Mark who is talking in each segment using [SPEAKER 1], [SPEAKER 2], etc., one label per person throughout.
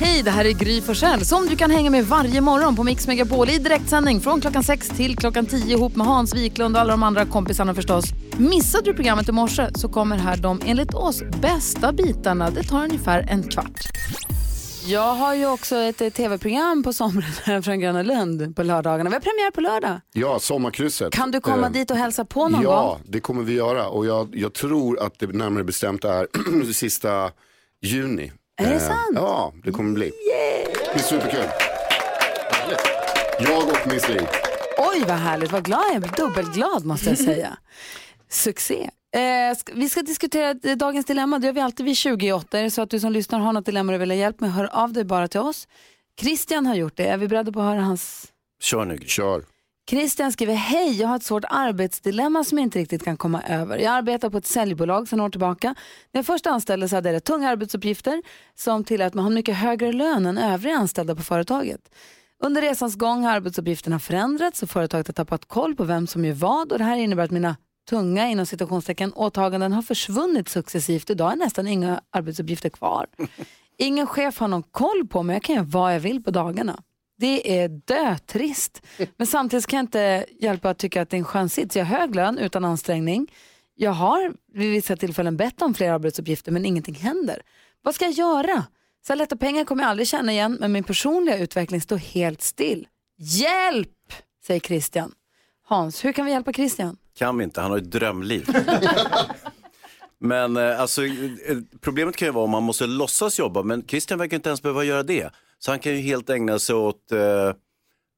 [SPEAKER 1] Hej, det här är Gry Forssell som du kan hänga med varje morgon på Mix Megapol i direktsändning från klockan 6 till klockan 10 ihop med Hans Wiklund och alla de andra kompisarna förstås. Missade du programmet i morse så kommer här de enligt oss bästa bitarna. Det tar ungefär en kvart. Jag har ju också ett eh, tv-program på sommaren här från Gröna Lund på lördagarna. Vi har premiär på lördag.
[SPEAKER 2] Ja, sommarkrysset.
[SPEAKER 1] Kan du komma
[SPEAKER 2] Eh,
[SPEAKER 1] dit och hälsa på någon
[SPEAKER 2] ja,
[SPEAKER 1] gång?
[SPEAKER 2] det kommer vi göra. Och jag, jag tror att det närmare bestämt är sista juni.
[SPEAKER 1] Är det
[SPEAKER 2] Eh,
[SPEAKER 1] sant?
[SPEAKER 2] Ja, det kommer bli. Det blir superkul. Jag och Miss Li.
[SPEAKER 1] Oj, vad härligt. Vad glad jag blir. Dubbelglad måste jag säga. Succé. Eh, ska, vi ska diskutera eh, dagens dilemma. Det gör vi alltid vid 28. Är det så att du som lyssnar har något dilemma du vill ha hjälp med, hör av dig bara till oss. Christian har gjort det. Är vi beredda på att höra hans...
[SPEAKER 3] Kör nu Gry.
[SPEAKER 2] Kör.
[SPEAKER 1] Christian skriver, hej, jag har ett svårt arbetsdilemma som jag inte riktigt kan komma över. Jag arbetar på ett säljbolag sedan år tillbaka. När jag först anställdes hade jag rätt tunga arbetsuppgifter som tillät mig ha en mycket högre lön än övriga anställda på företaget. Under resans gång har arbetsuppgifterna förändrats och företaget har tappat koll på vem som gör vad och det här innebär att mina tunga inom citationstecken åtaganden har försvunnit successivt. Idag är nästan inga arbetsuppgifter kvar. Ingen chef har någon koll på mig. Jag kan göra vad jag vill på dagarna. Det är dötrist. Men samtidigt kan jag inte hjälpa att tycka att det är en skön sits. Jag har hög lön utan ansträngning. Jag har vid vissa tillfällen bett om fler arbetsuppgifter men ingenting händer. Vad ska jag göra? Så här lätta pengar kommer jag aldrig tjäna igen men min personliga utveckling står helt still. Hjälp! säger Christian. Hans, hur kan vi hjälpa Christian?
[SPEAKER 3] Kan vi inte, han har ett drömliv. men eh, alltså, eh, problemet kan ju vara om man måste låtsas jobba, men Christian verkar inte ens behöva göra det. Så han kan ju helt ägna sig åt eh,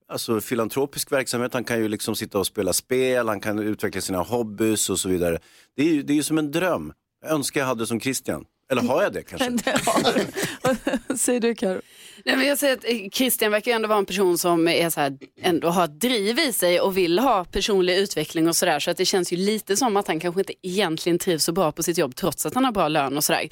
[SPEAKER 3] alltså, filantropisk verksamhet, han kan ju liksom sitta och spela spel, han kan utveckla sina hobbys och så vidare. Det är ju, det är ju som en dröm. Jag önskar jag hade som Christian. Eller har jag det kanske?
[SPEAKER 1] säger du Karo?
[SPEAKER 4] Nej, men jag säger att eh, Christian verkar ju ändå vara en person som är så här, ändå har ett driv i sig och vill ha personlig utveckling och sådär. Så att det känns ju lite som att han kanske inte egentligen trivs så bra på sitt jobb trots att han har bra lön och sådär.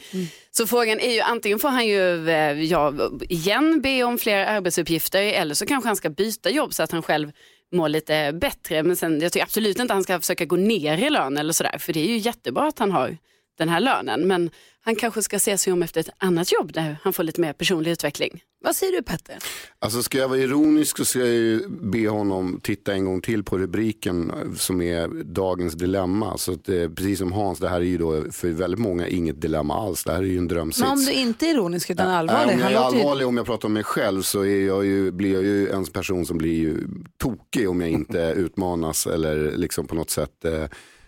[SPEAKER 4] Så frågan är ju antingen får han ju eh, ja, igen be om fler arbetsuppgifter eller så kanske han ska byta jobb så att han själv mår lite bättre. Men sen, jag tycker absolut inte han ska försöka gå ner i lön eller sådär för det är ju jättebra att han har den här lönen. Men han kanske ska se sig om efter ett annat jobb där han får lite mer personlig utveckling.
[SPEAKER 1] Vad säger du Petter?
[SPEAKER 2] Alltså ska jag vara ironisk så ska jag ju be honom titta en gång till på rubriken eh, som är dagens dilemma. Så att, eh, precis som Hans, det här är ju då för väldigt många inget dilemma alls. Det här är ju en drömsits.
[SPEAKER 1] Men om du inte är ironisk utan allvarlig.
[SPEAKER 2] Nej, om
[SPEAKER 1] han
[SPEAKER 2] jag är
[SPEAKER 1] låter ju-
[SPEAKER 2] allvarlig, om jag pratar om mig själv så är jag ju, blir jag ju en person som blir ju tokig om jag inte utmanas eller liksom på något sätt eh,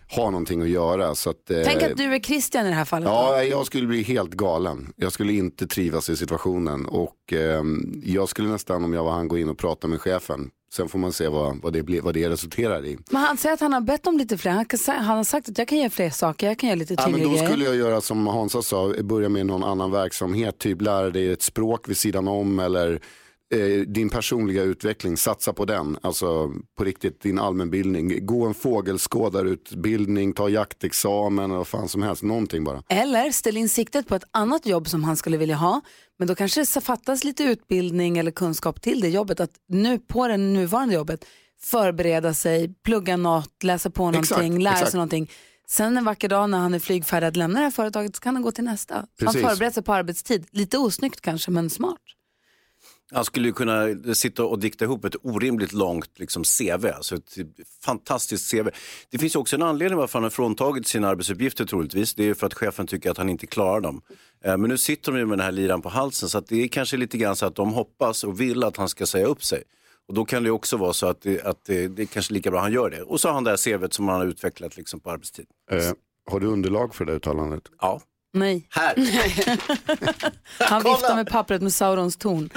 [SPEAKER 2] har någonting att göra. Så att, eh,
[SPEAKER 1] Tänk att du är Christian i det här fallet.
[SPEAKER 2] Ja, jag skulle bli helt galen. Jag skulle inte trivas i situationen och ehm, jag skulle nästan om jag var han gå in och prata med chefen. Sen får man se vad, vad, det, blir, vad det resulterar i.
[SPEAKER 1] Men han säger att han har bett om lite fler. Han, kan, sä- han har sagt att jag kan göra fler saker, jag kan göra lite
[SPEAKER 2] Ja,
[SPEAKER 1] tyngre
[SPEAKER 2] men då
[SPEAKER 1] grejer.
[SPEAKER 2] skulle jag göra som Hansa sa, börja med någon annan verksamhet, typ lära dig ett språk vid sidan om eller eh, din personliga utveckling, satsa på den. Alltså på riktigt din allmänbildning, gå en fågelskådarutbildning, ta jaktexamen eller vad fan som helst, någonting bara.
[SPEAKER 1] Eller ställ in siktet på ett annat jobb som han skulle vilja ha. Men då kanske det fattas lite utbildning eller kunskap till det jobbet. Att nu på det nuvarande jobbet förbereda sig, plugga något, läsa på någonting,
[SPEAKER 2] Exakt,
[SPEAKER 1] lära
[SPEAKER 2] exakt.
[SPEAKER 1] sig någonting. Sen en vacker dag när han är flygfärdig att lämna det här företaget så kan han gå till nästa. Så Han
[SPEAKER 2] Precis.
[SPEAKER 1] förbereder sig på arbetstid. Lite osnyggt kanske men smart.
[SPEAKER 3] Han skulle ju kunna sitta och dikta ihop ett orimligt långt liksom, CV, alltså ett fantastiskt CV. Det finns ju också en anledning varför han har fråntagit sina arbetsuppgifter troligtvis. Det är ju för att chefen tycker att han inte klarar dem. Eh, Men nu sitter de ju med den här liran på halsen så att det är kanske lite grann så att de hoppas och vill att han ska säga upp sig. Och då kan det ju också vara så att det, att det, det är kanske lika bra han gör det. Och så har han det här CVet som han har utvecklat liksom, på arbetstid.
[SPEAKER 2] Eh, har du underlag för det uttalandet?
[SPEAKER 3] Ja,
[SPEAKER 1] Nej,
[SPEAKER 3] här!
[SPEAKER 1] han viftar med pappret med Saurons torn.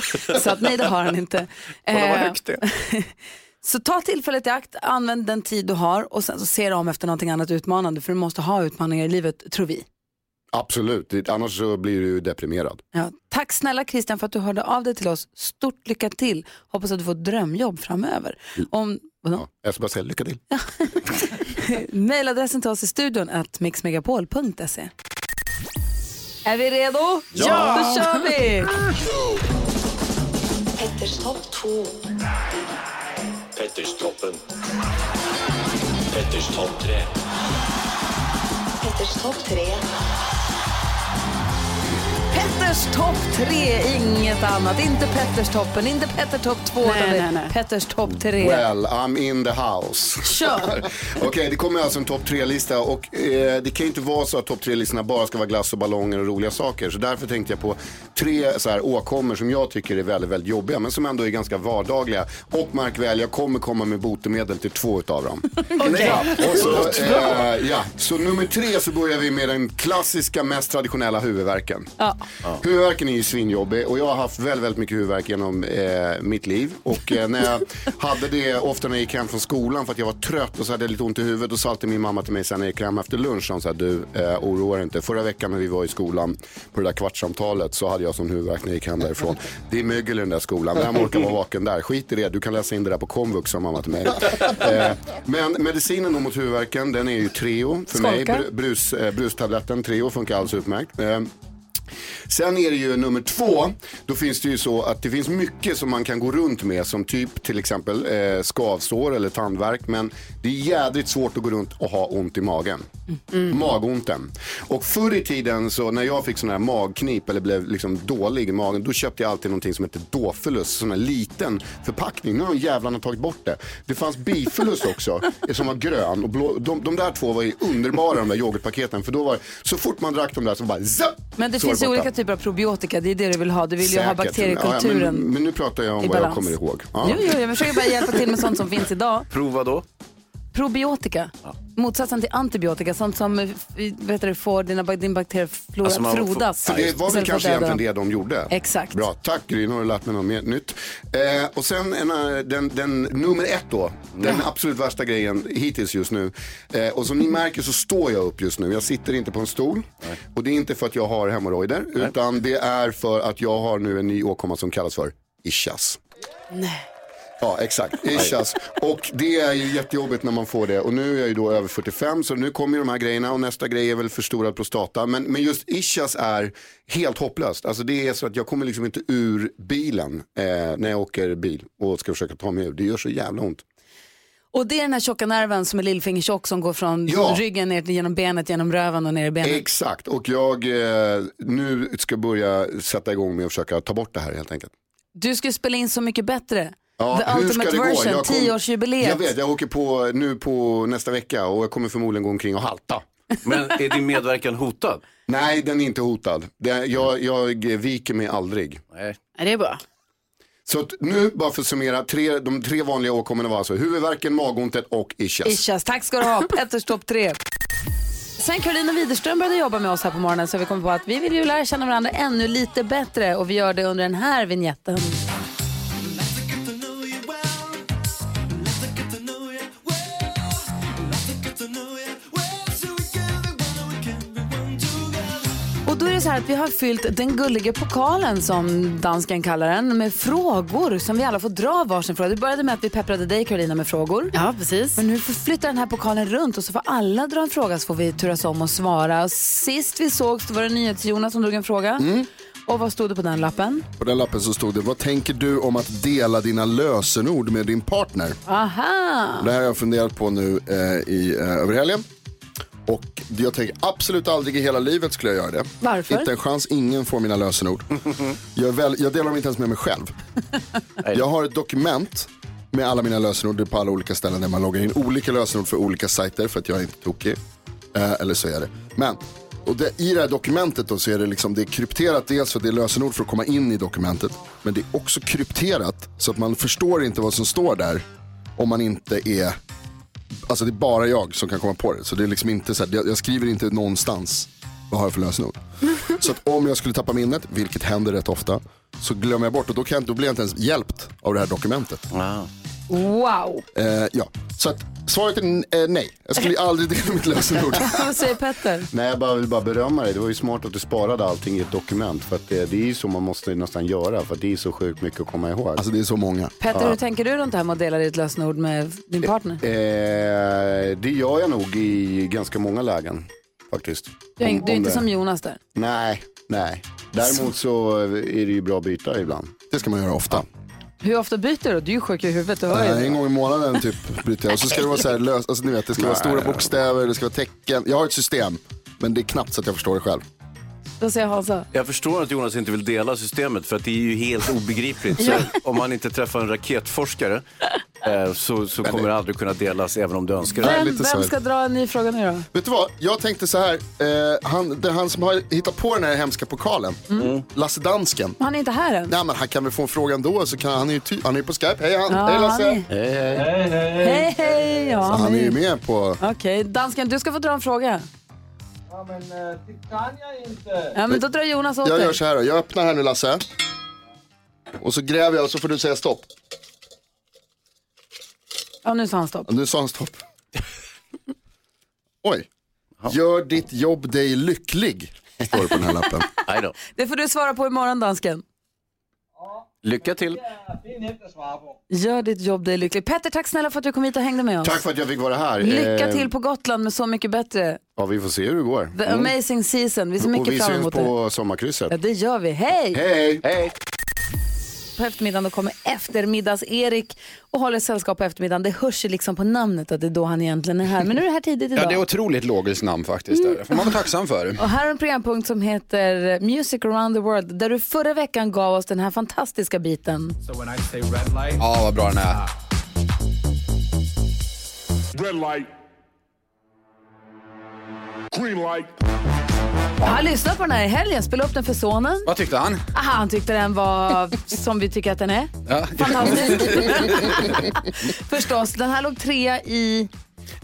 [SPEAKER 1] Så att nej, det har han inte.
[SPEAKER 3] Kolla vad
[SPEAKER 1] Eh,
[SPEAKER 3] högt det är.
[SPEAKER 1] Så ta tillfället i akt, använd den tid du har och sen så se dig om efter någonting annat utmanande för du måste ha utmaningar i livet, tror vi.
[SPEAKER 2] Absolut, Det- annars så blir du deprimerad.
[SPEAKER 1] Ja. Tack snälla Christian för att du hörde av dig till oss. Stort lycka till. Hoppas att du får ett drömjobb framöver.
[SPEAKER 4] Mm.
[SPEAKER 1] Om, vadå?
[SPEAKER 2] Ja. Jag ska bara säga lycka till.
[SPEAKER 1] Mailadressen till oss i studion att mixmegapol.se. Är vi redo?
[SPEAKER 3] Ja!
[SPEAKER 1] Då kör vi!
[SPEAKER 5] Petters topp 2.
[SPEAKER 6] Petters toppen. Petters topp tre.
[SPEAKER 5] Petters topp 3.
[SPEAKER 1] Petter Petters topp tre, inget annat. Inte Petterstoppen, inte Pettertopp 2,
[SPEAKER 4] Nej,
[SPEAKER 1] utan det är
[SPEAKER 4] nej, nej.
[SPEAKER 1] Petters topp tre.
[SPEAKER 2] Well, I'm in the house.
[SPEAKER 1] Kör.
[SPEAKER 2] Okej, det kommer alltså en topp tre-lista och eh, det kan ju inte vara så att topp tre-listorna bara ska vara glass och ballonger och roliga saker. Så därför tänkte jag på tre så här åkommor som jag tycker är väldigt, väldigt jobbiga men som ändå är ganska vardagliga. Och märk väl, jag kommer komma med botemedel till två utav dem. ja, och så, eh, ja. så nummer tre så börjar vi med den klassiska, mest traditionella huvudvärken.
[SPEAKER 1] Ja.
[SPEAKER 2] Huvudvärken är ju svinjobbig och jag har haft väldigt, väldigt mycket huvudvärk genom eh, mitt liv. Och eh, när jag hade det ofta när jag gick hem från skolan för att jag var trött och så hade jag lite ont i huvudet. Då sa alltid min mamma till mig sen när jag gick hem efter lunch. Hon sa du eh, oroa dig inte. Förra veckan när vi var i skolan på det där kvartssamtalet så hade jag sån huvudvärk när jag gick hem därifrån. Det är mögel i den där skolan. Vem orkar vara vaken där? Skit i det. Du kan läsa in det där på komvux sa mamma till mig. Eh, men medicinen då mot huvudvärken den är ju Treo för mig.
[SPEAKER 1] Skolkar.
[SPEAKER 2] Bru- Brus, eh, brustabletten Treo funkar alldeles utmärkt. Eh, Sen är det ju nummer två, då finns det ju så att det finns mycket som man kan gå runt med som typ till exempel eh, skavsår eller tandvärk men det är jädrigt svårt att gå runt och ha ont i magen.
[SPEAKER 1] Mm.
[SPEAKER 2] Magonten. Och förr i tiden så när jag fick sån här magknip eller blev liksom dålig i magen då köpte jag alltid någonting som hette Dofilus, sån här liten förpackning. Nu har jävlarna tagit bort det. Det fanns Bifilus också eh, som var grön och blå. De, de där två var ju underbara de där yoghurtpaketen för då var så fort man drack de där så bara zapp!
[SPEAKER 1] Men det
[SPEAKER 2] så var
[SPEAKER 1] finns ju
[SPEAKER 2] borta.
[SPEAKER 1] olika typer av probiotika, det är det du vill ha. Du vill ju ha
[SPEAKER 2] Säkert.
[SPEAKER 1] bakteriekulturen
[SPEAKER 2] Ja, men, men nu pratar jag om
[SPEAKER 1] i
[SPEAKER 2] vad jag
[SPEAKER 1] balans.
[SPEAKER 2] kommer ihåg. Ja.
[SPEAKER 1] Jo, jo, jag försöker bara hjälpa till med sånt som finns idag.
[SPEAKER 3] Prova då.
[SPEAKER 1] Probiotika, motsatsen till antibiotika, sånt som eh, f- vet du, får dina, ba- din bakterieflora
[SPEAKER 3] Alltså, man får-
[SPEAKER 1] frodas.
[SPEAKER 2] Så det var
[SPEAKER 1] istället för
[SPEAKER 2] väl
[SPEAKER 1] att
[SPEAKER 2] kanske
[SPEAKER 1] döda
[SPEAKER 2] egentligen
[SPEAKER 1] dem.
[SPEAKER 2] det de gjorde.
[SPEAKER 1] Exakt.
[SPEAKER 2] Bra, tack Gry, nu har du lärt mig något mer nytt. Eh, och sen en, eh, den, den nummer ett då, den absolut värsta grejen hittills just nu. Eh, och som ni märker så står jag upp just nu, jag sitter inte på en stol. Och det är inte för att jag har hemorrojder, utan det är för att jag har nu en ny åkomma som kallas för ischias.
[SPEAKER 4] Nej.
[SPEAKER 2] Ja, exakt. Ischias. Och det är ju jättejobbigt när man får det. Och nu är jag ju då över 45 så nu kommer ju de här grejerna och nästa grej är väl förstorad prostata. Men, men just ischias är helt hopplöst. Alltså det är så att jag kommer liksom inte ur bilen eh, när jag åker bil och ska försöka ta mig ur. Det gör så jävla ont.
[SPEAKER 1] Och det är den här tjocka nerven som är lillfingertjock som går från
[SPEAKER 2] Ja. Eh.
[SPEAKER 1] ryggen ner till- genom benet, genom röven och ner i benet.
[SPEAKER 2] Exakt. Och jag eh, nu ska börja sätta igång med att försöka ta bort det här helt enkelt.
[SPEAKER 1] Du skulle spela in Så mycket bättre.
[SPEAKER 2] Ja,
[SPEAKER 1] The Ultimate Version,
[SPEAKER 2] Jag kom-
[SPEAKER 1] 10-årsjubileet.
[SPEAKER 2] Jag vet, jag åker på nu på nästa vecka och jag kommer förmodligen gå omkring och halta.
[SPEAKER 3] Men är din medverkan hotad?
[SPEAKER 2] Nej, den är inte hotad. Det, jag, jag viker mig aldrig.
[SPEAKER 3] Nej.
[SPEAKER 4] Ja, det är bra.
[SPEAKER 2] Så att nu, bara för att summera, tre, de tre vanliga åkommorna var alltså huvudvärken, magontet och ischias.
[SPEAKER 1] Ischias. Tack ska du ha, Petters topp tre. Sen Karolina Widerström började jobba med oss här på morgonen så har vi kom på att vi vill ju lära känna varandra ännu lite bättre och vi gör det under den här vignetten. Och då är det så här att vi har fyllt den gulliga pokalen som dansken kallar den med frågor som vi alla får dra varsin fråga. Det började med att vi pepprade dig Karolina med frågor.
[SPEAKER 4] Ja, precis.
[SPEAKER 1] Men nu flyttar den här pokalen runt och så får alla dra en fråga så får vi turas om och svara. Och sist vi sågs då var det NyhetsJonas som drog en fråga. Och vad stod det på den lappen?
[SPEAKER 5] På den lappen så stod det, vad tänker du om att dela dina lösenord med din partner?
[SPEAKER 1] Aha!
[SPEAKER 5] Det här har jag funderat på nu eh, i, eh, över helgen. Och jag tänker absolut aldrig i hela livet skulle jag göra det.
[SPEAKER 1] Varför?
[SPEAKER 5] Inte en chans, ingen får mina lösenord. jag, är väl, jag delar dem inte ens med mig själv. jag har ett dokument med alla mina lösenord på alla olika ställen där man loggar in. Olika lösenord för olika sajter för att jag är inte tokig. Eh, eller så är det. Men och det, i det här dokumentet då så är det, liksom, det är krypterat dels för att det är lösenord för att komma in i dokumentet. Men det är också krypterat så att man förstår inte vad som står där om man inte är Alltså det är bara jag som kan komma på det. Så det är liksom inte så här, jag, jag skriver inte någonstans vad har jag för lösenord. Så att om jag skulle tappa minnet, vilket händer rätt ofta, så glömmer jag bort och då, kan jag, inte- då blir jag inte ens hjälpt av det här dokumentet.
[SPEAKER 1] Wow!
[SPEAKER 5] Eh, ja. Så att svaret är n- eh, nej. Jag skulle aldrig dela mitt lösenord.
[SPEAKER 1] vad säger Petter?
[SPEAKER 2] Nej, jag bara vill bara berömma dig. Det var ju smart att du sparade allting i ett dokument. För att det, det är ju så man måste nästan göra. För att det är så sjukt mycket att komma ihåg.
[SPEAKER 5] Alltså det är så många.
[SPEAKER 1] Petter, hur tänker du runt det här med att dela ditt lösenord med din partner?
[SPEAKER 2] eh, det gör jag nog i ganska många lägen faktiskt.
[SPEAKER 1] Du är,
[SPEAKER 2] Om-
[SPEAKER 1] in- du är
[SPEAKER 2] om
[SPEAKER 1] inte
[SPEAKER 2] det-
[SPEAKER 1] som Jonas där.
[SPEAKER 2] Nej, nej. Däremot så är det ju bra att byta ibland.
[SPEAKER 5] Det ska man göra ofta.
[SPEAKER 1] Hur ofta byter du? Du är ju sjuk i huvudet, du hör ju
[SPEAKER 5] Eh, en
[SPEAKER 1] det.
[SPEAKER 5] gång i månaden typ byter jag. Och så ska det vara så här lös, alltså ni vet det ska vara stora bokstäver, det ska vara tecken. Jag har ett system, men det är knappt så att jag förstår det själv.
[SPEAKER 1] Vad säger Hansa?
[SPEAKER 3] Jag förstår att Jonas inte vill dela systemet för att det är ju helt obegripligt. Så om man inte träffar en raketforskare eh, så, så kommer det aldrig kunna delas även om du önskar det.
[SPEAKER 2] Nej,
[SPEAKER 1] Vem,
[SPEAKER 2] lite så
[SPEAKER 1] vem
[SPEAKER 2] här.
[SPEAKER 1] ska dra en ny fråga nu då?
[SPEAKER 2] Vet du vad? Jag tänkte så här. Eh, han, det är han som har hittat på den här hemska pokalen.
[SPEAKER 7] Mm.
[SPEAKER 2] Lasse Dansken.
[SPEAKER 1] Han är inte här än.
[SPEAKER 2] Nej men han kan väl få en fråga ändå. Så kan, han, är ju ty- han är ju på Skype. Hej han.
[SPEAKER 1] Ja,
[SPEAKER 2] Hej Lasse.
[SPEAKER 1] han är- Hej, hej. Ja,
[SPEAKER 2] Han är ju
[SPEAKER 1] men-
[SPEAKER 2] med på...
[SPEAKER 1] Okej, dansken, du ska få dra en fråga.
[SPEAKER 8] Ja, men eh, det kan jag inte.
[SPEAKER 1] Ja, men då drar Jonas åt
[SPEAKER 2] Jag
[SPEAKER 1] dig.
[SPEAKER 2] gör så här då. Jag öppnar här nu Lasse. Och så gräver jag och så får du säga stopp.
[SPEAKER 1] Ja, nu sa han stopp.
[SPEAKER 2] Ja, Nu sa han stopp. Oj. Gör ditt jobb dig lycklig. Står det på den här lappen.
[SPEAKER 3] Nej då.
[SPEAKER 1] Det får du svara på imorgon, dansken.
[SPEAKER 3] Lycka till.
[SPEAKER 8] Det är nätt att svara på.
[SPEAKER 1] Gör ditt jobb dig lycklig. Petter, tack snälla för att du kom hit och hängde med oss.
[SPEAKER 7] Tack för att jag fick vara här.
[SPEAKER 1] Lycka
[SPEAKER 7] Eh,
[SPEAKER 1] till på Gotland med Så mycket bättre.
[SPEAKER 7] Ja, vi får se hur det går.
[SPEAKER 1] The amazing season. Vi ser
[SPEAKER 7] Mm. Och
[SPEAKER 1] mycket
[SPEAKER 7] vi
[SPEAKER 1] fram
[SPEAKER 7] syns
[SPEAKER 1] emot det.
[SPEAKER 7] på sommarkrysset.
[SPEAKER 1] Ja, det gör vi. Hej!
[SPEAKER 7] Hej!
[SPEAKER 3] Hej.
[SPEAKER 1] På eftermiddagen då kommer eftermiddags-Erik och håller sällskap på eftermiddagen. Det hörs ju liksom på namnet att det är då han egentligen är här. Men nu är det här tidigt idag. Mm.
[SPEAKER 9] Ja, det är otroligt logiskt namn faktiskt. Där. får man vara tacksam för.
[SPEAKER 1] Och här har en programpunkt som heter Music around the world där du förra veckan gav oss den här fantastiska biten.
[SPEAKER 9] Ja, vad bra den är.
[SPEAKER 10] Ah. Red light. Green light.
[SPEAKER 1] Jag lyssnade på den här i helgen, spelade upp den för sonen.
[SPEAKER 9] Vad tyckte han?
[SPEAKER 1] Aha, han tyckte den var som vi tycker att den är.
[SPEAKER 9] Ja.
[SPEAKER 1] Fantastisk. Förstås, den här låg trea i...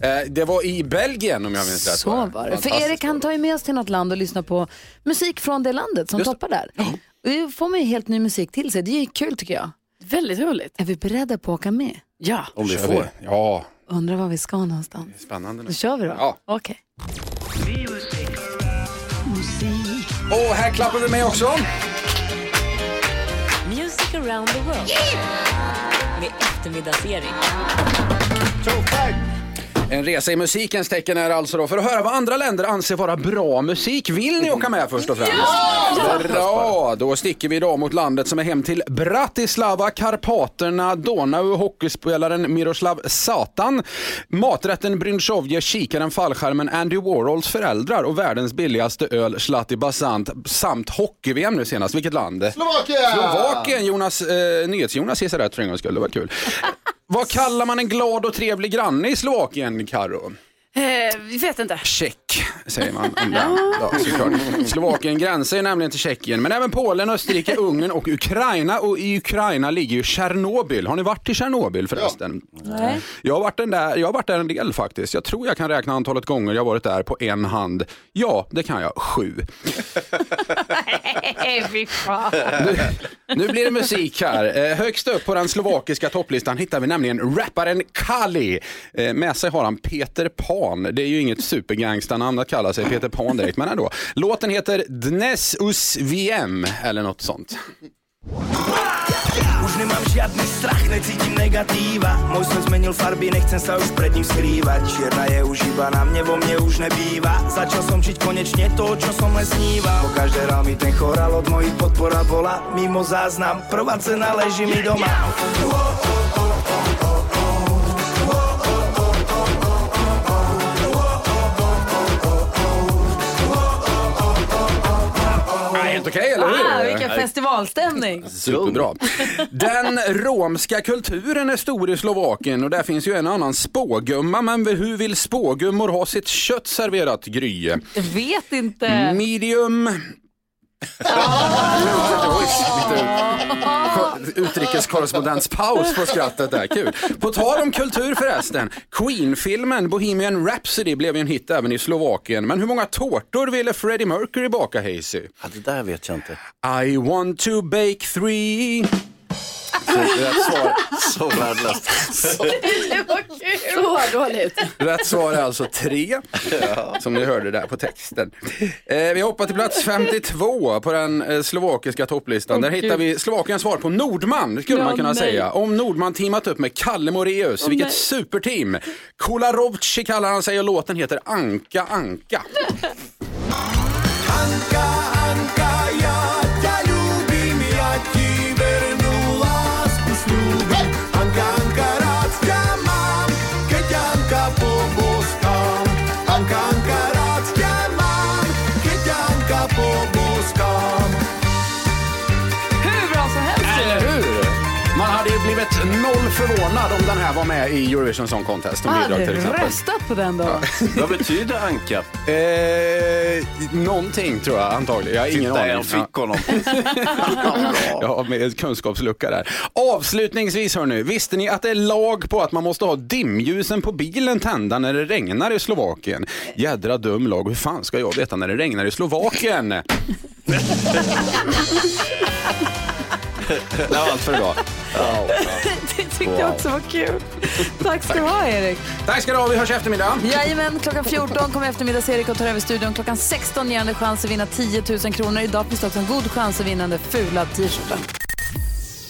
[SPEAKER 9] Eh, Det var i Belgien om jag minns rätt.
[SPEAKER 1] Så var det. För
[SPEAKER 9] Fantastiskt
[SPEAKER 1] Erik han tar ju med oss till något land och lyssnar på musik från det landet som toppar där. Och då får man ju helt ny musik till sig. Det är ju kul tycker jag.
[SPEAKER 4] Väldigt roligt.
[SPEAKER 1] Är vi beredda på att åka med?
[SPEAKER 4] Ja.
[SPEAKER 9] bra. Kör vi. Ja,
[SPEAKER 1] Undrar var vi ska någonstans.
[SPEAKER 9] spännande. nu.
[SPEAKER 1] Då kör vi då.
[SPEAKER 9] Ja.
[SPEAKER 1] Okej.
[SPEAKER 9] Och här klappar vi med också.
[SPEAKER 11] Music around the world. Med eftermiddags-Erik.
[SPEAKER 9] En resa i musikens tecken är alltså då för att höra vad andra länder anser vara bra musik. Vill ni åka med först och främst? Ja! Bra! Då sticker vi idag mot landet som är hem till Bratislava, Karpaterna, Donau, hockeyspelaren Miroslav Satan, maträtten Brynsovje, kikaren, fallskärmen, Andy Warhols föräldrar och världens billigaste öl Zlati Basant samt hockey-VM nu senast. Vilket land?
[SPEAKER 2] Slovakien!
[SPEAKER 9] Slovakien, Jonas, eh, NyhetsJonas gissade rätt för en gångs skull, det var kul. Vad kallar man en glad och trevlig granne i Slovakien, Karo?
[SPEAKER 4] Eh, vi vet inte.
[SPEAKER 9] Tjeck, säger man om den. Ja, såklart. Slovakien gränsar ju nämligen till Tjeckien, men även Polen, Österrike, Ungern och Ukraina. Och i Ukraina ligger ju Tjernobyl. Har ni varit i Tjernobyl förresten?
[SPEAKER 1] Nej.
[SPEAKER 9] Jag har, varit den där, jag har varit där en del faktiskt. Jag tror jag kan räkna antalet gånger jag har varit där på en hand. Ja, det kan jag. Sju.
[SPEAKER 1] Okay. Fy fan.
[SPEAKER 9] Nu, nu blir det musik här. Eh, högst upp på den slovakiska topplistan hittar vi nämligen rapparen Kali. Eh, med sig har han Peter Pan. Det är ju inget supergangstanamn att kalla sig Peter Pan direkt, men ändå. Låten heter Dnes us VM eller något sånt.
[SPEAKER 12] Už nemám žiadny strach, necítim negatíva Môj sen zmenil farby, nechcem sa už pred ním skrývať Čierna je už iba na mne, vo mne už nebýva Začal som žiť konečne to, čo som len sníval Po každé rál mi ten chorál od mojich podpora bola Mimo záznam, prvá cena leží mi doma
[SPEAKER 9] Helt okej, eller
[SPEAKER 1] Ah,
[SPEAKER 9] hur? Eh,
[SPEAKER 1] vilken festivalstämning.
[SPEAKER 9] Superbra. Den romska kulturen är stor i Slovakien och där finns ju en och annan spågumma. Men hur vill spågummor ha sitt kött serverat, Gry?
[SPEAKER 1] Jag vet inte.
[SPEAKER 9] Mm. Medium. Oj, lite Utrikeskorrespondenspaus på skrattet där, kul. På tal om kultur förresten, Queen-filmen Bohemian Rhapsody blev ju en hit även i Slovakien. Men hur många tårtor ville Freddie Mercury baka, Hazy?
[SPEAKER 3] Ja, det där vet jag inte.
[SPEAKER 9] I want to bake three. Rätt svar,
[SPEAKER 3] Så värdelöst.
[SPEAKER 4] Så dåligt.
[SPEAKER 9] rätt svar är alltså tre, som ni hörde där på texten. Eh, vi hoppar till plats 52 på den eh, slovakiska topplistan. där hittar vi Slovakiens svar på Nordman, skulle
[SPEAKER 1] Ja,
[SPEAKER 9] man kunna
[SPEAKER 1] nej.
[SPEAKER 9] säga. Om Nordman teamat upp med Kalle Moreus, vilket superteam. Kolarovci kallar han sig och låten heter Anka Anka.
[SPEAKER 12] Anka, Anka, ja ťa ľúbim, ja ti vernú lásku slúbim Anka, Anka, rád ťa mám, keď Anka poboskám Anka, Anka, rád ťa mám, keď Anka poboskám
[SPEAKER 9] förvånad om den här var med i Eurovision Song Contest. Om
[SPEAKER 1] Hade
[SPEAKER 9] bidrag,
[SPEAKER 1] du
[SPEAKER 9] till exempel.
[SPEAKER 1] röstat på den då?
[SPEAKER 3] Vad betyder anka?
[SPEAKER 9] Eh, någonting tror jag antagligen. Jag har ingen
[SPEAKER 3] Titta,
[SPEAKER 9] aning.
[SPEAKER 3] jag fick honom.
[SPEAKER 9] Jag har med ett kunskapslucka där. Avslutningsvis hörni, visste ni att det är lag på att man måste ha dimljusen på bilen tända när det regnar i Slovakien? Jädra dum lag, hur fan ska jag veta när det regnar i Slovakien? det var allt för idag.
[SPEAKER 1] det tyckte jag också var kul. Tack ska du ha Erik.
[SPEAKER 9] Tack ska du ha, vi hörs i eftermiddag.
[SPEAKER 1] Jajamän, klockan 14 kommer eftermiddags-Erik och tar över studion. Klockan 16 ger han dig chans att vinna 10 000 kronor. Idag finns det också en god chans att vinna den där fula t-shirten.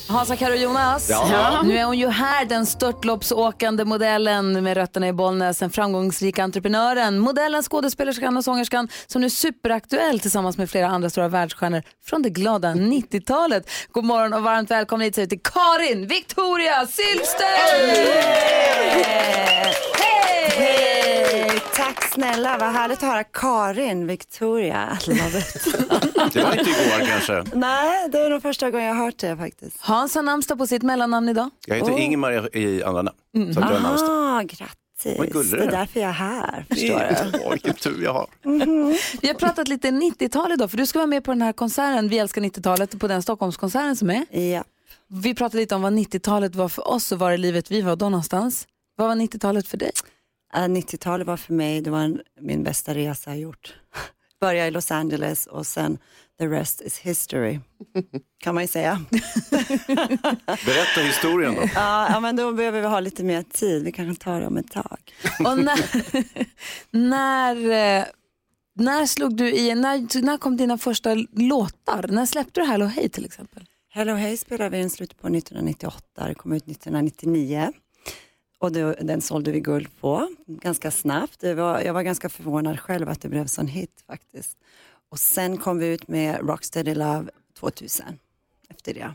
[SPEAKER 1] Hansa Karo Jonas,
[SPEAKER 13] Ja. Ja.
[SPEAKER 1] nu är hon ju här, den störtloppsåkande modellen med rötterna i Bollnäs, den framgångsrika entreprenören, modellen, skådespelerskan och sångerskan som nu är superaktuell tillsammans med flera andra stora världsstjärnor från det glada 90-talet. God morgon och varmt välkommen hit säger vi till Karin Victoria Silfverstrand!
[SPEAKER 12] Hej! Tack snälla, vad härligt att höra Karin Victoria. I love it.
[SPEAKER 3] Det var inte igår kanske.
[SPEAKER 12] Nej, det är nog första gången jag har hört det faktiskt.
[SPEAKER 1] Hans har namnsdag på sitt mellannamn idag.
[SPEAKER 3] Jag heter Ingemar i andra namn. Så att jag är närmast.
[SPEAKER 12] Aha, grattis.
[SPEAKER 3] Vad gullig
[SPEAKER 12] det
[SPEAKER 3] du
[SPEAKER 12] är
[SPEAKER 3] är.
[SPEAKER 12] därför jag är här. Förstår du?
[SPEAKER 3] Åh, Vilken tur jag har.
[SPEAKER 1] Vi har pratat lite 90-tal idag, för du ska vara med på den här konserten, Vi älskar 90-talet, på den Stockholmskonserten som är.
[SPEAKER 12] Ja.
[SPEAKER 1] Vi pratade lite om vad 90-talet var för oss och var i livet vi var då någonstans. Vad var 90-talet för dig?
[SPEAKER 12] Eh, 90-talet var för mig det var en, min bästa resa jag gjort. Började i Los Angeles och sen the rest is history. Kan man ju säga.
[SPEAKER 3] Berätta historien då.
[SPEAKER 12] Ja, ja, men då behöver vi ha lite mer tid. Vi kanske tar det om ett tag.
[SPEAKER 1] Och när, när, eh, när slog du i, när, när kom dina första låtar? När släppte du Hello Hey till exempel?
[SPEAKER 12] Hello Hey spelade vi in slutet på 1998, det kom ut 1999. Och då, den sålde vi guld på ganska snabbt. Det var, jag var ganska förvånad själv att det blev sån hit faktiskt. Och sen kom vi ut med Rocksteady Love 2000 efter det.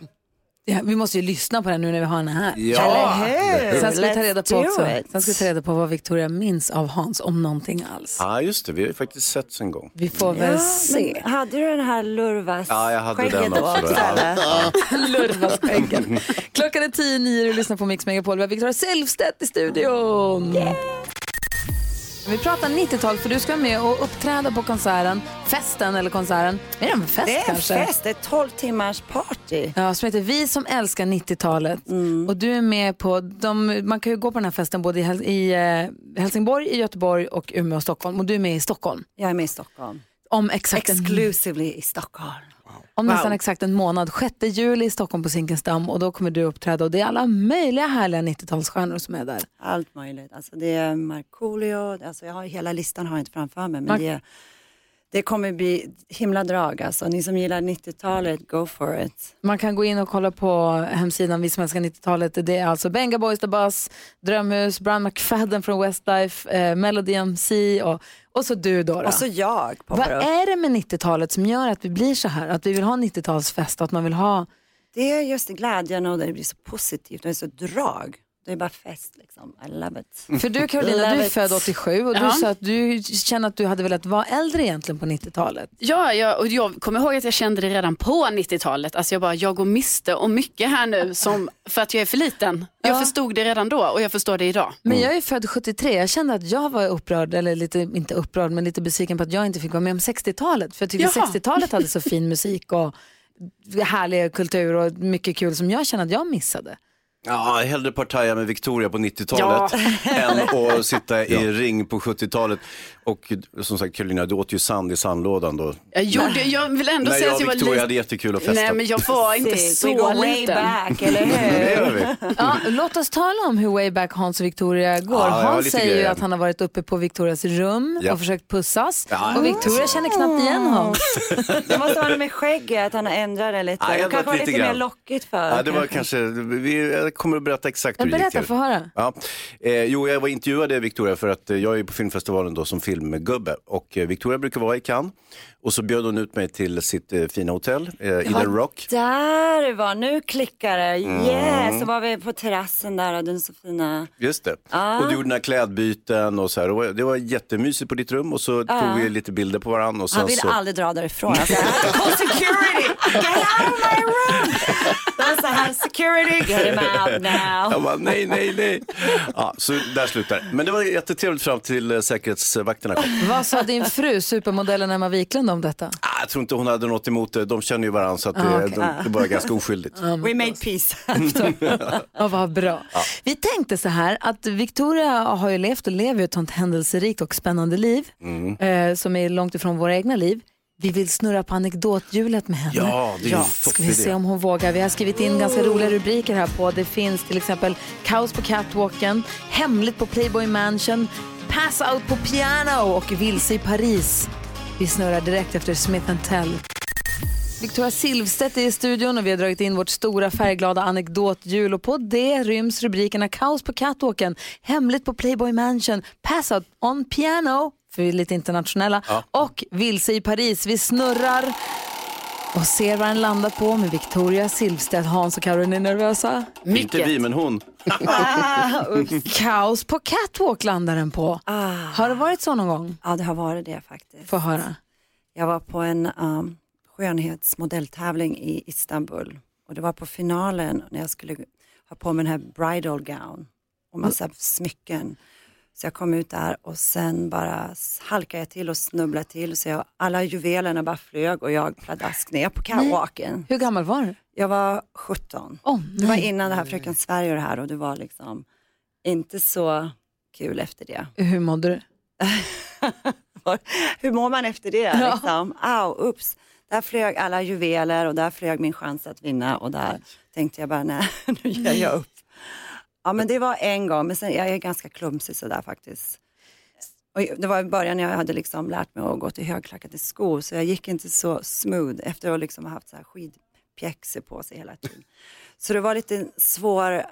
[SPEAKER 1] Ja, vi måste ju lyssna på den nu när vi har henne här.
[SPEAKER 12] Ja. Eller hur?
[SPEAKER 1] Sen ska vi ta reda på
[SPEAKER 12] Let's do
[SPEAKER 1] också,
[SPEAKER 12] it.
[SPEAKER 1] sen ska vi ta reda på vad Victoria minns av Hans, om någonting alls.
[SPEAKER 3] Ja, just det. Vi har ju faktiskt setts en gång.
[SPEAKER 1] Vi får väl se.
[SPEAKER 12] Men hade du den här lurvas
[SPEAKER 3] Ja, jag hade
[SPEAKER 12] skägget
[SPEAKER 3] den också.
[SPEAKER 12] också,
[SPEAKER 3] Ja.
[SPEAKER 12] eller?
[SPEAKER 3] Ja.
[SPEAKER 1] Lurvaskäggen. Klockan är tio nio och du lyssnar på Mix Megapol. Vi har Victoria Silvstedt i studion. Vi pratar 90-tal för du ska vara med och uppträda på konserten, festen eller konserten. Är det en fest
[SPEAKER 12] Det är en
[SPEAKER 1] kanske?
[SPEAKER 12] fest, det är 12 timmars party.
[SPEAKER 1] Ja, som heter Vi som älskar 90-talet.
[SPEAKER 12] Mm.
[SPEAKER 1] Och du är med på, de, man kan ju gå på den här festen både i, Hel- i eh, Helsingborg, i Göteborg och Umeå och Stockholm. Och du är med i Stockholm.
[SPEAKER 12] Jag är med i Stockholm.
[SPEAKER 1] Om exakt en-
[SPEAKER 12] Exclusively i Stockholm.
[SPEAKER 1] Om
[SPEAKER 12] Wow.
[SPEAKER 1] nästan exakt en månad, 6 juli i Stockholm på Zinkensdamm och då kommer du uppträda och det är alla möjliga härliga 90-talsstjärnor som är där.
[SPEAKER 12] Allt möjligt. Alltså det är Markoolio, alltså jag har, hela listan har jag inte framför mig. Men
[SPEAKER 1] Mark-
[SPEAKER 12] det, det kommer bli himla drag alltså. Ni som gillar 90-talet, go for it.
[SPEAKER 1] Man kan gå in och kolla på hemsidan Vi som älskar 90-talet. Det är alltså Benga Boys The Buzz, Drömhus, Brian McFadden från Westlife, eh, Melody MC och, och så du då. då.
[SPEAKER 12] Och så jag
[SPEAKER 1] Vad
[SPEAKER 12] poppar upp.
[SPEAKER 1] är det med 90-talet som gör att vi blir så här? Att vi vill ha 90-talsfest, att man vill ha...
[SPEAKER 12] Det är just glädjen och det blir så positivt och det är så drag. Det är bara fest liksom, I love it.
[SPEAKER 1] För du Carolina,
[SPEAKER 12] Love
[SPEAKER 1] du är
[SPEAKER 12] it.
[SPEAKER 1] född 87 och du
[SPEAKER 12] Ja.
[SPEAKER 1] sa att du känner att du hade velat vara äldre egentligen på 90-talet.
[SPEAKER 4] Ja, jag, och jag kommer ihåg att jag kände det redan på 90-talet. Alltså jag bara, jag går miste om mycket här nu som, för att jag är för liten. Jag förstod det redan då och jag förstår det idag.
[SPEAKER 1] Men
[SPEAKER 3] Mm.
[SPEAKER 1] jag är född 73, jag kände att jag var upprörd, eller lite, inte upprörd, men lite besviken på att jag inte fick vara med om 60-talet. För jag tyckte
[SPEAKER 4] Jaha.
[SPEAKER 1] 60-talet hade så fin musik och härlig kultur och mycket kul som jag kände att jag missade.
[SPEAKER 3] Ja, hellre partaja med Victoria på 90-talet än att sitta i ring på 70-talet. Och som sagt, Carolina, du åt ju sand i sandlådan då.
[SPEAKER 4] Jag, gjorde, jag vill ändå
[SPEAKER 3] När
[SPEAKER 4] säga
[SPEAKER 3] jag
[SPEAKER 4] att
[SPEAKER 3] och
[SPEAKER 4] jag var
[SPEAKER 3] Victoria
[SPEAKER 4] lite...
[SPEAKER 3] hade jättekul och festa.
[SPEAKER 4] Nej, men jag var inte
[SPEAKER 12] Precis,
[SPEAKER 4] så
[SPEAKER 12] we go
[SPEAKER 4] liten.
[SPEAKER 12] way back, eller hur?
[SPEAKER 3] Det gör vi.
[SPEAKER 1] Ja, låt oss tala om hur way back Hans och Victoria går.
[SPEAKER 3] Ja, jag har
[SPEAKER 1] Hans
[SPEAKER 3] lite
[SPEAKER 1] säger ju
[SPEAKER 3] grejer.
[SPEAKER 1] att han har varit uppe på Victorias rum
[SPEAKER 3] Ja.
[SPEAKER 1] och försökt pussas
[SPEAKER 3] Ja.
[SPEAKER 1] och Victoria känner knappt igen Hans.
[SPEAKER 12] Det måste ha det med skägget, han har ändrat det lite.
[SPEAKER 3] Ja, jag
[SPEAKER 12] det
[SPEAKER 3] har
[SPEAKER 12] kanske var
[SPEAKER 3] varit
[SPEAKER 12] lite,
[SPEAKER 3] lite
[SPEAKER 12] mer
[SPEAKER 3] grann.
[SPEAKER 12] lockigt för.
[SPEAKER 3] Ja, det var kanske, vi, jag kommer att berätta exakt hur det gick
[SPEAKER 1] Berätta,
[SPEAKER 3] till.
[SPEAKER 1] få höra.
[SPEAKER 3] Ja. Eh, jo, jag var intervjuad eh, Victoria för att eh, jag är på filmfestivalen då som filmgubbe och eh, Victoria brukar vara i Cannes och så bjöd hon ut mig till sitt eh, fina hotell, eh, i The Rock.
[SPEAKER 12] Där det var, nu klickar det.
[SPEAKER 3] Mm.
[SPEAKER 12] Yes, så var vi på terrassen där och den så fina.
[SPEAKER 3] Just det.
[SPEAKER 12] Ah.
[SPEAKER 3] Och du gjorde dina klädbyten och så här. Och det var jättemysigt på ditt rum och så
[SPEAKER 12] Ah.
[SPEAKER 3] tog vi lite bilder på varandra. Och sen
[SPEAKER 12] Han ville
[SPEAKER 3] så...
[SPEAKER 12] aldrig dra därifrån. Alltså, call security, get out of my room! Det var så här security, get him out now.
[SPEAKER 3] Jag bara, nej, nej, nej. Ja, så där slutar det. Men det var jättetrevligt fram till eh, säkerhetsvakterna kom.
[SPEAKER 1] Vad sa din fru, supermodellen Emma Wiklund, om detta?
[SPEAKER 3] Ah, Jag tror inte hon hade något emot det. De känner ju varandra så att det,
[SPEAKER 1] Ah, okej.
[SPEAKER 3] de, det var ganska oskyldigt.
[SPEAKER 12] We made peace.
[SPEAKER 1] Ja, vad bra. Vi tänkte så här att Victoria har ju levt och lever ju ett sånt händelserikt och spännande liv
[SPEAKER 3] Mm.
[SPEAKER 1] eh, som är långt ifrån våra egna liv. Vi vill snurra på anekdothjulet med henne.
[SPEAKER 3] Ja, det är ju en
[SPEAKER 1] Ska
[SPEAKER 3] toppidé.
[SPEAKER 1] vi se om hon vågar. Vi har skrivit in ganska roliga rubriker här på. Det finns till exempel Kaos på catwalken, Hemligt på Playboy Mansion, Pass out på piano och Vilse i Paris. Vi snurrar direkt efter Smith Tell. Victoria Silvstedt är i studion och vi har dragit in vårt stora färgglada anekdothjul och på det ryms rubrikerna Kaos på catwalken, Hemligt på Playboy Mansion, Pass out on piano, för vi är lite internationella, och Vilse i Paris. Vi snurrar och ser vad den landar på med Victoria Silvstedt. Hans och Karin är nervösa.
[SPEAKER 3] Inte vi, men hon.
[SPEAKER 1] Ah, usch. Kaos på catwalk landar den på. Har det varit så någon gång?
[SPEAKER 12] Ja, det har varit det faktiskt.
[SPEAKER 1] Få höra.
[SPEAKER 12] Jag var på en um, skönhetsmodelltävling i Istanbul och det var på finalen när jag skulle ha på mig den här bridal gown och massa smycken. Så jag kom ut där och sen bara s- halkade jag till och snubblade till så jag, alla juvelerna bara flög och jag pladask ner på catwalken.
[SPEAKER 1] Hur gammal var du?
[SPEAKER 12] Jag var 17. det var innan det här Fröken Sverige och det här och det var liksom inte så kul efter det.
[SPEAKER 1] Hur mådde du?
[SPEAKER 12] Hur mår man efter det? Liksom? Au, ups. Där flög alla juveler och där flög min chans att vinna och där tänkte jag bara nej, nu ger jag upp. Ja men det var en gång, men sen, jag är ganska klumsig sådär faktiskt. Och det var i början när jag hade liksom lärt mig att gå till högklackade skor så jag gick inte så smooth efter att liksom ha haft så här skidpjäxor på sig hela tiden. Så det var lite svår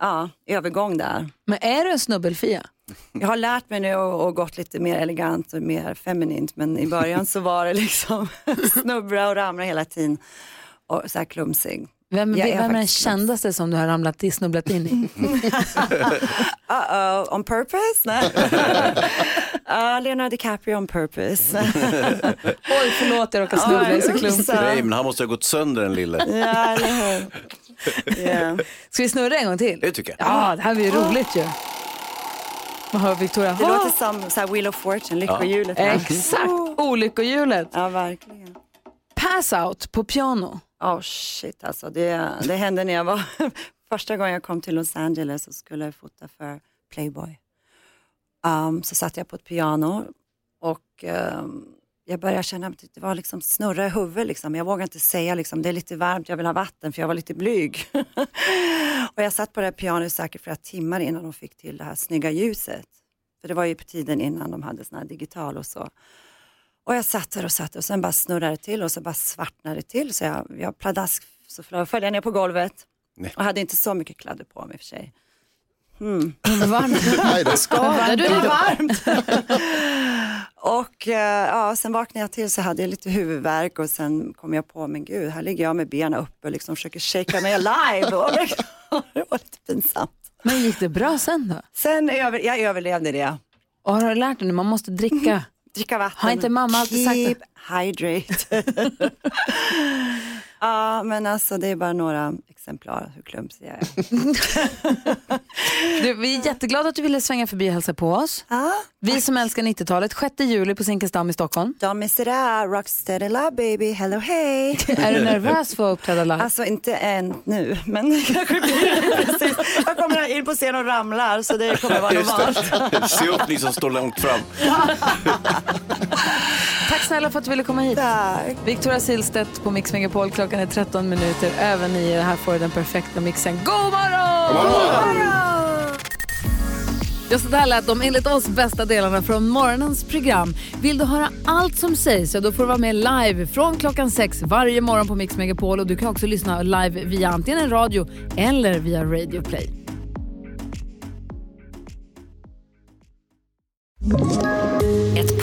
[SPEAKER 12] ja, övergång där.
[SPEAKER 1] Men är du en snubbelfia?
[SPEAKER 12] Jag har lärt mig nu och, och gått lite mer elegant och mer feminint men i början så var det liksom snubbla och ramla hela tiden och så här klumsig.
[SPEAKER 1] Vem,
[SPEAKER 12] Jag
[SPEAKER 1] vem är den
[SPEAKER 12] faktiskt
[SPEAKER 1] kändaste som du har ramlat i, snubblat in i?
[SPEAKER 12] Uh-oh, on purpose? Nej. Ah, Leonardo DiCaprio on purpose.
[SPEAKER 1] Oj, förlåt jag råkade snubbla, jag är så
[SPEAKER 12] Oj,
[SPEAKER 1] klump.
[SPEAKER 12] upsa.
[SPEAKER 3] Nej, men han måste ha gått sönder den lille.
[SPEAKER 12] Ah. ja, eller hur. Yeah.
[SPEAKER 1] Ska vi snurra en gång till?
[SPEAKER 3] Det tycker jag.
[SPEAKER 1] Ja, det här blir ju roligt ju. Vad har Victoria?
[SPEAKER 12] Det
[SPEAKER 1] Ha!
[SPEAKER 12] låter som så här Wheel of Fortune, lyckohjulet. va?
[SPEAKER 1] Exakt, olyckohjulet.
[SPEAKER 12] Ja, verkligen.
[SPEAKER 1] Pass out på piano.
[SPEAKER 12] Oh shit alltså, det, det hände när jag var, första gången jag kom till Los Angeles och skulle fota för Playboy. Um, så satt jag på ett piano och um, jag började känna att det var liksom snurra i huvudet liksom. Jag vågade inte säga liksom, det är lite varmt, jag vill ha vatten för jag var lite blyg. och jag satt på det här pianot säkert flera timmar innan de fick till det här snygga ljuset. För det var ju på tiden innan de hade sån här digital och så. Och jag satt där och satt och sen bara snurrade det till och så bara svartnade det till så jag, jag pladask så flö- föll jag ner på golvet
[SPEAKER 3] Nej.
[SPEAKER 12] och hade inte så mycket kläder på mig i och för sig.
[SPEAKER 5] Nej, det ska.
[SPEAKER 4] Badar du då?
[SPEAKER 12] Och eh, ja, sen vaknade jag till så hade jag lite huvudvärk och sen kom jag på, men gud, här ligger jag med benen uppe och liksom försöker shakea mig alive. Och det var lite pinsamt.
[SPEAKER 1] Men gick det bra sen då?
[SPEAKER 12] Sen över, jag överlevde det.
[SPEAKER 1] Och har du lärt dig nu, man måste dricka.
[SPEAKER 12] Dricka vatten.
[SPEAKER 1] Har inte mamma alltid sagt det?
[SPEAKER 12] Keep hydrated. ja, men alltså det är bara några exemplar hur klumsig jag är.
[SPEAKER 1] Du, vi är jätteglada att du ville svänga förbi och hälsa på oss.
[SPEAKER 12] Ja,
[SPEAKER 1] Vi som älskar 90-talet, 6 juli på Zinkensdamm i Stockholm.
[SPEAKER 12] de är sådär, rocksteady love baby, hello hey.
[SPEAKER 1] Är du nervös för att uppträda live?
[SPEAKER 12] Alltså inte än nu, men det kanske blir det precis. Jag kommer in på scen och ramlar så det kommer vara
[SPEAKER 3] Just
[SPEAKER 12] normalt.
[SPEAKER 3] det. Se upp ni som står långt fram.
[SPEAKER 1] Tack snälla för att du ville komma hit.
[SPEAKER 12] Tack.
[SPEAKER 1] Victoria Silvstedt på Mix Megapol. Klockan är 13 minuter över 9. Här får du den perfekta mixen. God morgon! Ja, så där lät de enligt oss bästa delarna från morgonens program. Vill du höra allt som sägs, ja, då får du vara med live från klockan sex varje morgon på Mix Megapol. Och du kan också lyssna live via antingen en radio eller via Radio Play.
[SPEAKER 13] Ett